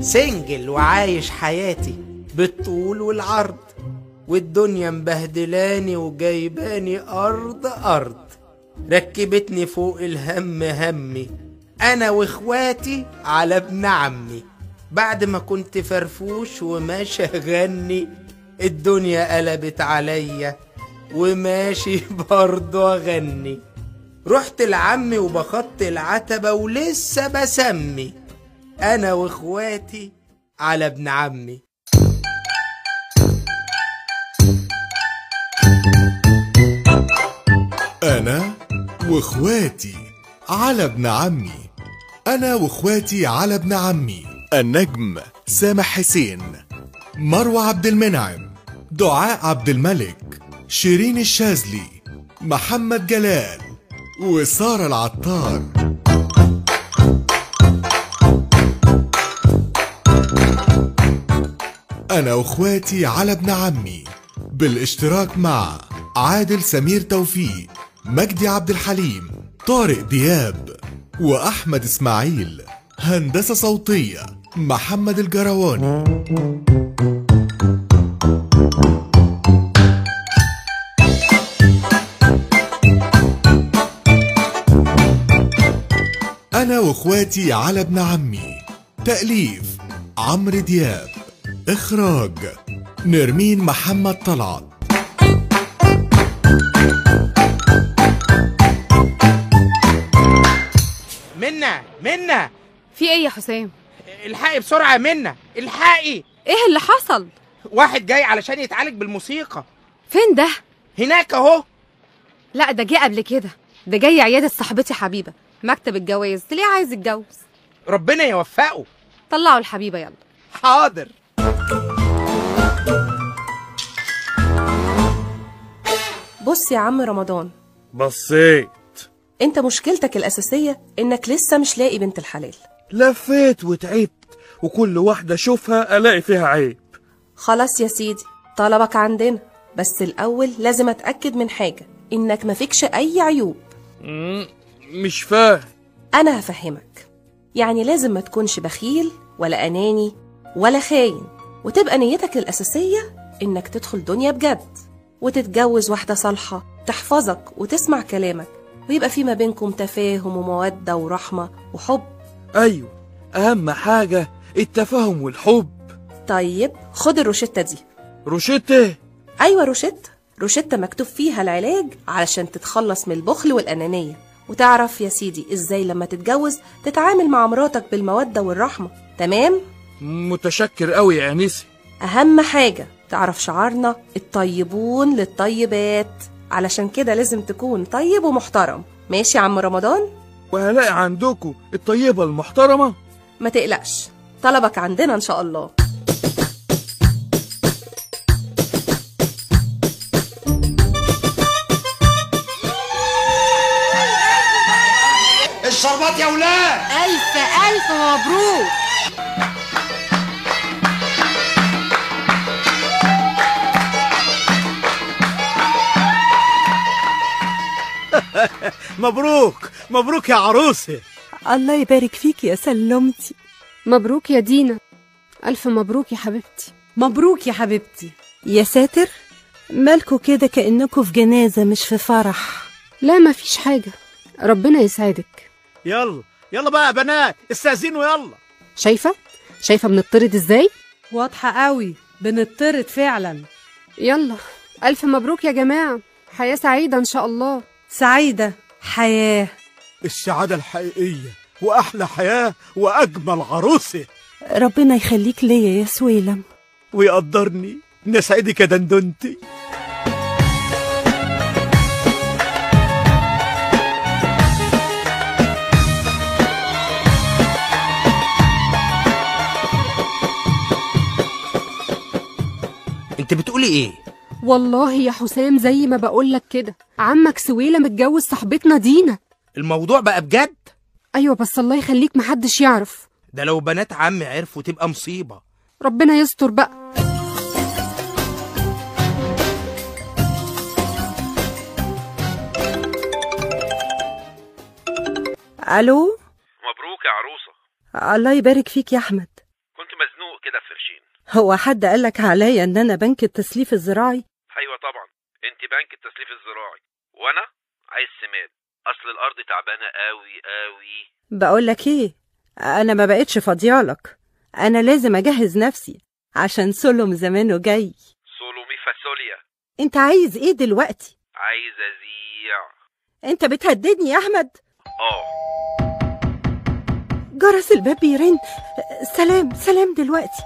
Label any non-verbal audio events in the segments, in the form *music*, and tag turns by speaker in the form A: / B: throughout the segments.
A: سنجل وعايش حياتي بالطول والعرض والدنيا مبهدلاني وجايباني أرض أرض ركبتني فوق الهم همي أنا وإخواتي على ابن عمي بعد ما كنت فرفوش وماشي أغني الدنيا قلبت عليا وماشي *laughs* برضه أغني رحت لعمي وبخط العتبة ولسه بسمي أنا وإخواتي على ابن عمي
B: أنا وإخواتي على ابن عمي أنا وإخواتي على ابن عمي النجم سامح حسين مروة عبد المنعم دعاء عبد الملك شيرين الشاذلي محمد جلال وسارة العطار أنا وإخواتي على ابن عمي بالاشتراك مع عادل سمير توفيق مجدي عبد الحليم طارق دياب وأحمد إسماعيل هندسة صوتية محمد الجرواني أنا وإخواتي على ابن عمي تأليف عمرو دياب إخراج نرمين محمد طلعت
A: منا منا
C: في ايه يا حسام
A: الحقي بسرعة منا الحقي
C: ايه اللي حصل
A: واحد جاي علشان يتعالج بالموسيقى
C: فين ده
A: هناك اهو
C: لا ده جه قبل كده ده جاي عياده صاحبتي حبيبه مكتب الجواز ليه عايز يتجوز
A: ربنا يوفقه
C: طلعوا الحبيبه يلا
A: حاضر
D: بص يا عم رمضان
E: بصيت
D: انت مشكلتك الأساسية انك لسه مش لاقي بنت الحلال
E: لفيت وتعبت وكل واحدة أشوفها ألاقي فيها عيب
D: خلاص يا سيدي طلبك عندنا بس الأول لازم أتأكد من حاجة انك ما فيكش أي عيوب
E: مم، مش فاهم
D: أنا هفهمك يعني لازم ما تكونش بخيل ولا أناني ولا خاين وتبقى نيتك الأساسية إنك تدخل دنيا بجد وتتجوز واحدة صالحة تحفظك وتسمع كلامك ويبقى في ما بينكم تفاهم ومودة ورحمة وحب
E: أيوة أهم حاجة التفاهم والحب
D: طيب خد الروشتة دي
E: روشته
D: أيوة روشتة روشتة مكتوب فيها العلاج علشان تتخلص من البخل والأنانية وتعرف يا سيدي إزاي لما تتجوز تتعامل مع مراتك بالمودة والرحمة تمام؟
E: متشكر أوي يا أنسي
D: أهم حاجة تعرف شعارنا الطيبون للطيبات علشان كده لازم تكون طيب ومحترم ماشي يا عم رمضان؟
E: وهلاقي عندكم الطيبة المحترمة
D: ما تقلقش طلبك عندنا إن شاء الله
F: الشربات يا ولاد
G: ألف ألف مبروك
F: مبروك مبروك يا عروسي
H: الله يبارك فيك يا سلمتي
C: مبروك يا دينا الف مبروك يا حبيبتي
H: مبروك يا حبيبتي يا ساتر مالكوا كده كأنكوا في جنازة مش في فرح
C: لا مفيش حاجه ربنا يسعدك
F: يلا يلا بقى يا بنات استأذنوا يلا
C: شايفه شايفه بنطرد ازاي
I: واضحة قوي بنطرد فعلا
C: يلا الف مبروك يا جماعه حياه سعيده ان شاء الله
I: سعيدة حياة
F: السعادة الحقيقية وأحلى حياة وأجمل عروسة
H: ربنا يخليك ليا يا سويلم
F: ويقدرني نسعدك يا دندنتي
A: انت بتقولي ايه
C: والله يا حسام زي ما بقولك كده عمك سويلة متجوز صاحبتنا دينا
A: الموضوع بقى بجد
C: ايوه بس الله يخليك محدش يعرف
A: ده لو بنات عمي عرفوا تبقى مصيبة
C: ربنا يستر بقى
H: ألو
J: مبروك يا عروسة
H: الله يبارك فيك يا أحمد
J: كنت ما
C: هو حد قالك عليا ان انا بنك التسليف الزراعي
K: ايوه طبعا انت بنك التسليف الزراعي وانا عايز سماد اصل الارض تعبانه قوي قوي
C: بقولك ايه انا ما بقتش فاضيالك انا لازم اجهز نفسي عشان سلم زمانه جاي
K: سولومي فاسوليا
C: انت عايز ايه دلوقتي
K: عايز ازيع
C: انت بتهددني يا احمد
K: اه
C: جرس الباب بيرن سلام سلام دلوقتي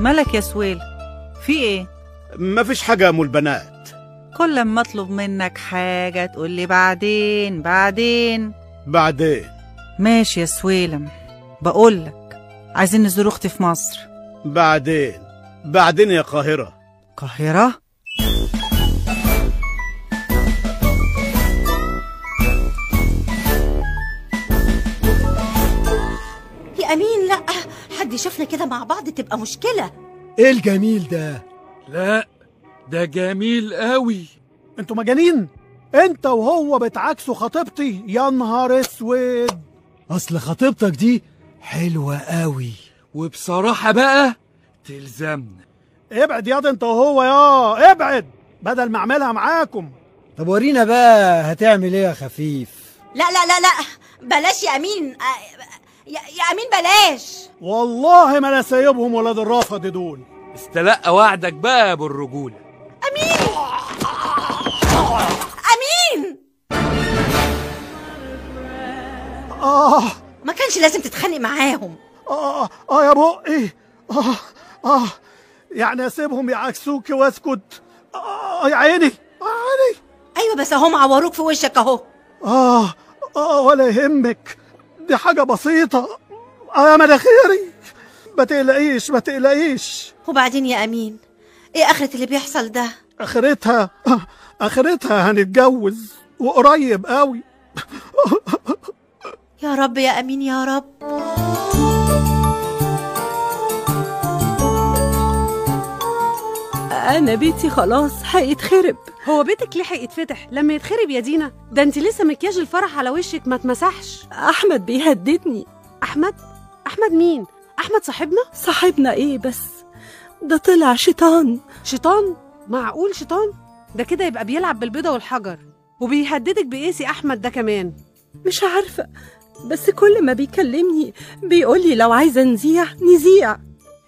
H: مالك يا سويل في ايه
F: مفيش حاجة يا أم البنات
H: كل ما اطلب منك حاجه تقول لي بعدين بعدين
F: بعدين
H: ماشي يا سويلم بقول لك عايزين نزور اختي في مصر
F: بعدين بعدين يا قاهرة
H: القاهره
D: يا امين لا حد شافنا كده مع بعض تبقى مشكله
F: ايه الجميل ده
E: لا ده جميل قوي
F: انتوا مجانين انت وهو بتعاكسوا خطيبتي يا نهار اسود اصل خطيبتك دي حلوة قوي
E: وبصراحه بقى تلزمنا
F: ابعد ياض انت وهو يا ابعد بدل ما اعملها معاكم
L: طب ورينا بقى هتعمل
F: إيه
L: ايه يا خفيف
D: لا لا لا لا بلاش يا امين آه، يا, يا امين بلاش
F: والله ما انا سايبهم ولاد الرافض دول
E: استلقى وعدك بقى بالرجوله
D: امين
F: اه
D: ما كانش لازم تتخانق معاهم
F: اه اه يا بقي اه اه يعني اسيبهم يعكسوكي واسكت اه يا عيني يا عيني
D: ايوه بس اهم عوروك في وشك اهو
F: اه اه ولا يهمك دي حاجه بسيطه اه يا مناخيري ما تقلقيش ما تقلقيش
D: وبعدين يا امين ايه اخرة اللي بيحصل ده
F: اخرتها اخرتها هنتجوز وقريب قوي
D: يا رب يا امين يا رب
C: انا بيتي خلاص هيتخرب
M: هو بيتك لحق يتفتح لما يتخرب يا دينا ده انت لسه مكياج الفرح على وشك ما اتمسحش
C: احمد بيهددني
M: احمد احمد مين احمد صاحبنا
C: صاحبنا ايه بس ده طلع شيطان
M: شيطان معقول شيطان ده كده يبقى بيلعب بالبيضه والحجر وبيهددك بقيسي احمد ده كمان
C: مش عارفة بس كل ما بيكلمني بيقولي لو عايزة نزيع نزيع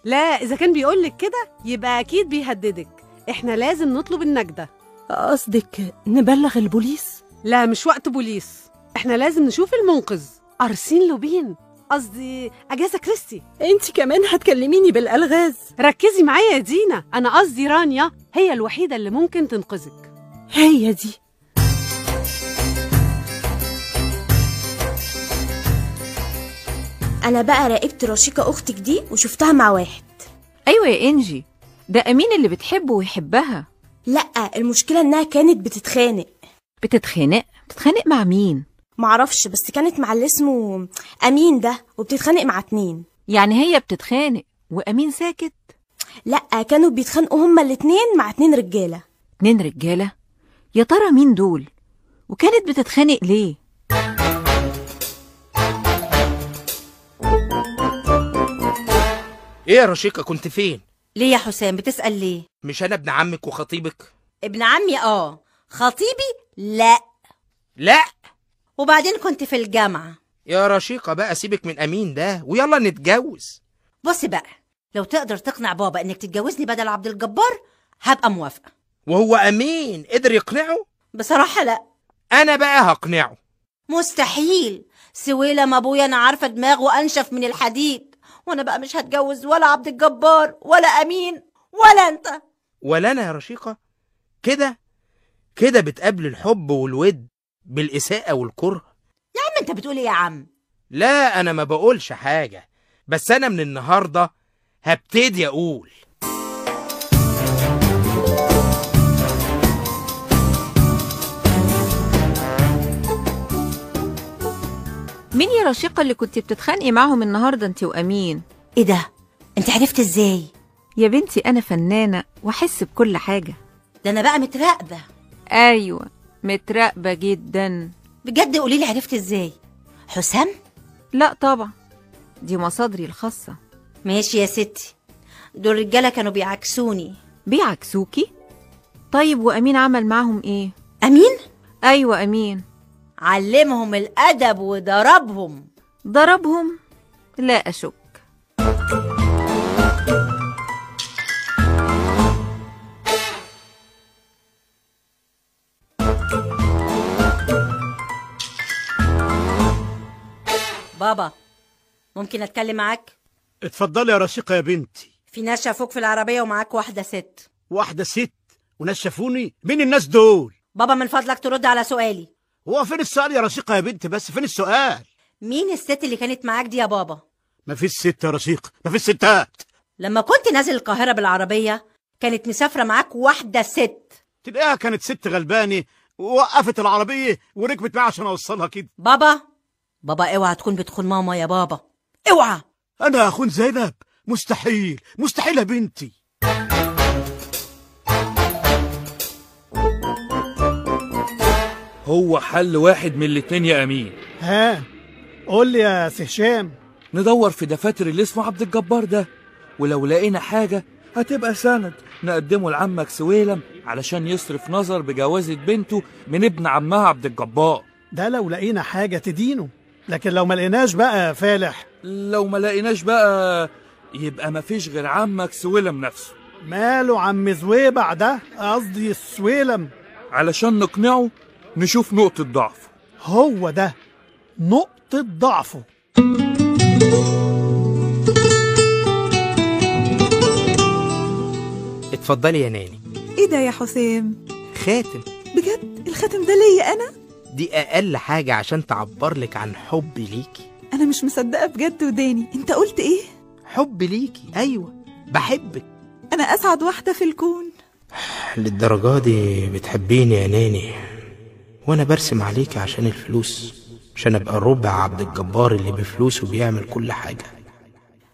M: لا اذا كان بيقولك كده يبقى اكيد بيهددك احنا لازم نطلب النجده
C: قصدك نبلغ البوليس
M: لا مش وقت بوليس احنا لازم نشوف المنقذ ارسين لوبين قصدي اجازه كريستي
C: انت كمان هتكلميني بالألغاز
M: ركزي معايا يا دينا انا قصدي رانيا هي الوحيده اللي ممكن تنقذك
C: هي دي
N: انا بقى راقبت رشيقه اختك دي وشفتها مع واحد
O: ايوه يا انجي ده امين اللي بتحبه ويحبها
N: لا المشكله انها كانت بتتخانق
O: بتتخانق بتتخانق مع مين
N: معرفش بس كانت مع اللي اسمه امين ده وبتتخانق مع اتنين
O: يعني هي بتتخانق وامين ساكت
N: لا كانوا بيتخانقوا هما الاتنين مع اتنين رجاله
O: اتنين رجاله يا ترى مين دول وكانت بتتخانق ليه
A: ايه يا رشيقه كنت فين
D: ليه يا حسام بتسال ليه
A: مش انا ابن عمك وخطيبك
D: ابن عمي اه خطيبي لا
A: لا
D: وبعدين كنت في الجامعه
A: يا رشيقه بقى سيبك من امين ده ويلا نتجوز
D: بص بقى لو تقدر تقنع بابا انك تتجوزني بدل عبد الجبار هبقى موافقه
A: وهو امين قدر يقنعه
D: بصراحه لا
A: انا بقى هقنعه
D: مستحيل سويلم ابويا انا عارفه دماغه انشف من الحديد وانا بقى مش هتجوز ولا عبد الجبار ولا امين ولا انت
A: ولا انا يا رشيقه كده كده بتقابل الحب والود بالاساءه والكره
D: يا عم انت بتقول ايه يا عم
A: لا انا ما بقولش حاجه بس انا من النهارده هبتدي اقول
P: مين يا رشيقة اللي كنت بتتخانقي معاهم النهاردة انت وأمين؟
D: ايه ده؟ انت عرفت ازاي؟
P: يا بنتي أنا فنانة وأحس بكل حاجة
D: ده انا بقى متراقبة
P: أيوة متراقبة جدا
D: بجد قولي لي عرفت ازاي؟ حسام؟
P: لا طبعا دي مصادري الخاصة
D: ماشي يا ستي دول الرجالة كانوا بيعكسوني
P: بيعكسوكي؟ طيب وأمين عمل معاهم إيه؟
D: أمين؟
P: أيوة أمين
D: علمهم الأدب وضربهم
P: ضربهم؟ لا أشك
D: بابا ممكن أتكلم معاك؟
Q: اتفضلي يا رشيقة يا بنتي
D: في ناس شافوك في العربية ومعاك واحدة ست
Q: واحدة ست وناس شافوني مين الناس دول
D: بابا من فضلك ترد على سؤالي
Q: هو فين السؤال يا رشيقة يا بنتي بس فين السؤال
D: مين الست اللي كانت معاك دي يا بابا؟
Q: مفيش ست يا رشيقة مفيش ستات
D: لما كنت نازل القاهرة بالعربية كانت مسافرة معاك واحدة ست
Q: تلاقيها كانت ست غلبانة ووقفت العربية وركبت معايا عشان أوصلها كده
D: بابا بابا اوعى تكون بتخون ماما يا بابا اوعى
Q: أنا أخون زينب مستحيل مستحيل يا بنتي
E: هو حل واحد من الاتنين يا أمين
F: ها قول لي يا سي هشام
E: ندور في دفاتر اللي اسمه عبد الجبار ده ولو لقينا حاجة هتبقى سند نقدمه لعمك سويلم علشان يصرف نظر بجوازة بنته من ابن عمها عبد الجبار
F: ده لو لقينا حاجة تدينه لكن لو ما لقيناش بقى فالح
E: لو ما لقيناش بقى يبقى مفيش غير عمك سويلم نفسه
F: ماله عم زويبع ده قصدي السويلم
E: علشان نقنعه نشوف نقطة ضعفه
F: هو ده نقطة ضعفه
A: اتفضلي يا ناني
H: ايه ده يا حسام
A: خاتم
H: بجد الخاتم ده ليا انا
A: دي أقل حاجة عشان تعبر لك عن حبي ليكي
H: انا مش مصدقه بجد وداني انت قلت ايه
A: حب ليكي أيوة بحبك
H: انا اسعد واحده في الكون
A: للدرجة دي بتحبيني يا ناني وأنا برسم عليكي عشان الفلوس عشان أبقى ربع عبد الجبار اللي بفلوسه بيعمل كل حاجة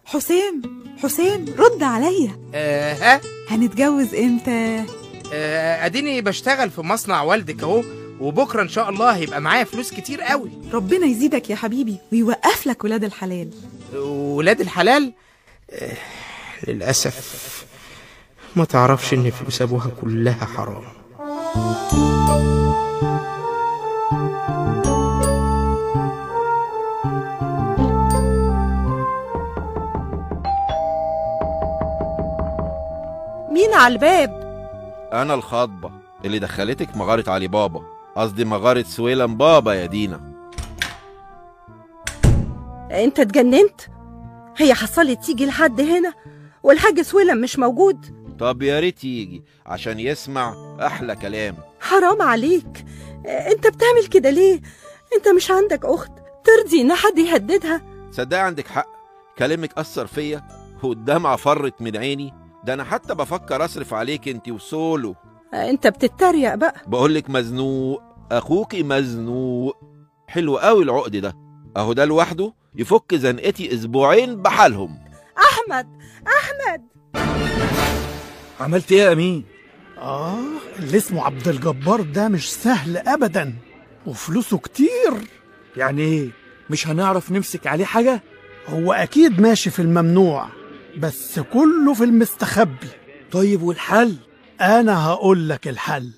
H: حسام حسام رد عليا
A: آه ها
H: هنتجوز امتى
A: آه، اديني بشتغل في مصنع والدك اهو وبكره ان شاء الله هيبقى معايا فلوس كتير قوي
H: ربنا يزيدك يا حبيبي ويوقف لك ولاد الحلال
A: ولاد الحلال آه، للاسف ما تعرفش ان فلوس ابوها كلها حرام
H: مين على الباب
K: أنا الخاطبة اللي دخلتك مغارة علي بابا قصدي مغارة سويلم بابا يا دينا
C: انت اتجننت هي حصلت تيجي لحد هنا والحاج سويلم مش موجود
K: طب يا ريت يجي عشان يسمع أحلى كلام
C: حرام عليك انت بتعمل كده ليه انت مش عندك اخت ترضي ان حد يهددها
K: صدق عندك حق كلامك أثر فيا والدمعة فرت من عيني ده أنا حتى بفكر أصرف عليك أنت وسولو
C: انت بتتريق بقى
K: بقولك مزنوق أخوكي مزنوق حلو قوي العقد ده أهو ده لوحده يفك زنقتي أسبوعين بحالهم
C: احمد احمد
E: عملت ايه يا أمين؟
F: آه اللي اسمه عبد الجبار ده مش سهل أبدا وفلوسه كتير
E: يعني ايه؟ مش هنعرف نمسك عليه حاجة؟
F: هو أكيد ماشي في الممنوع بس كله في المستخبي
E: طيب والحل؟
F: أنا هقول لك الحل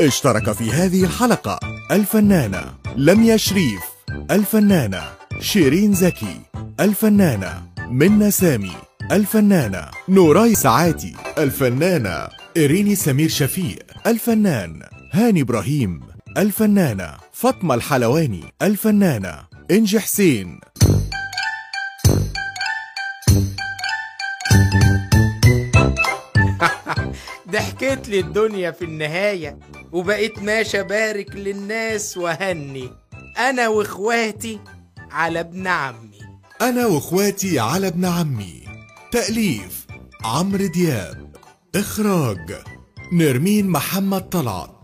B: اشترك في هذه الحلقة الفنانة لميا شريف الفنانة شيرين زكي الفنانة منى سامي الفنانة نوراي سعاتي الفنانة إريني سمير شفيق الفنان هاني إبراهيم الفنانة فاطمة الحلواني الفنانة إنجي حسين
A: ضحكت لي الدنيا في النهاية وبقيت ماشي أبارك للناس وأهني أنا وإخواتي على ابن عمي
B: أنا وإخواتي على ابن عمي تأليف عمرو دياب إخراج نرمين محمد طلعت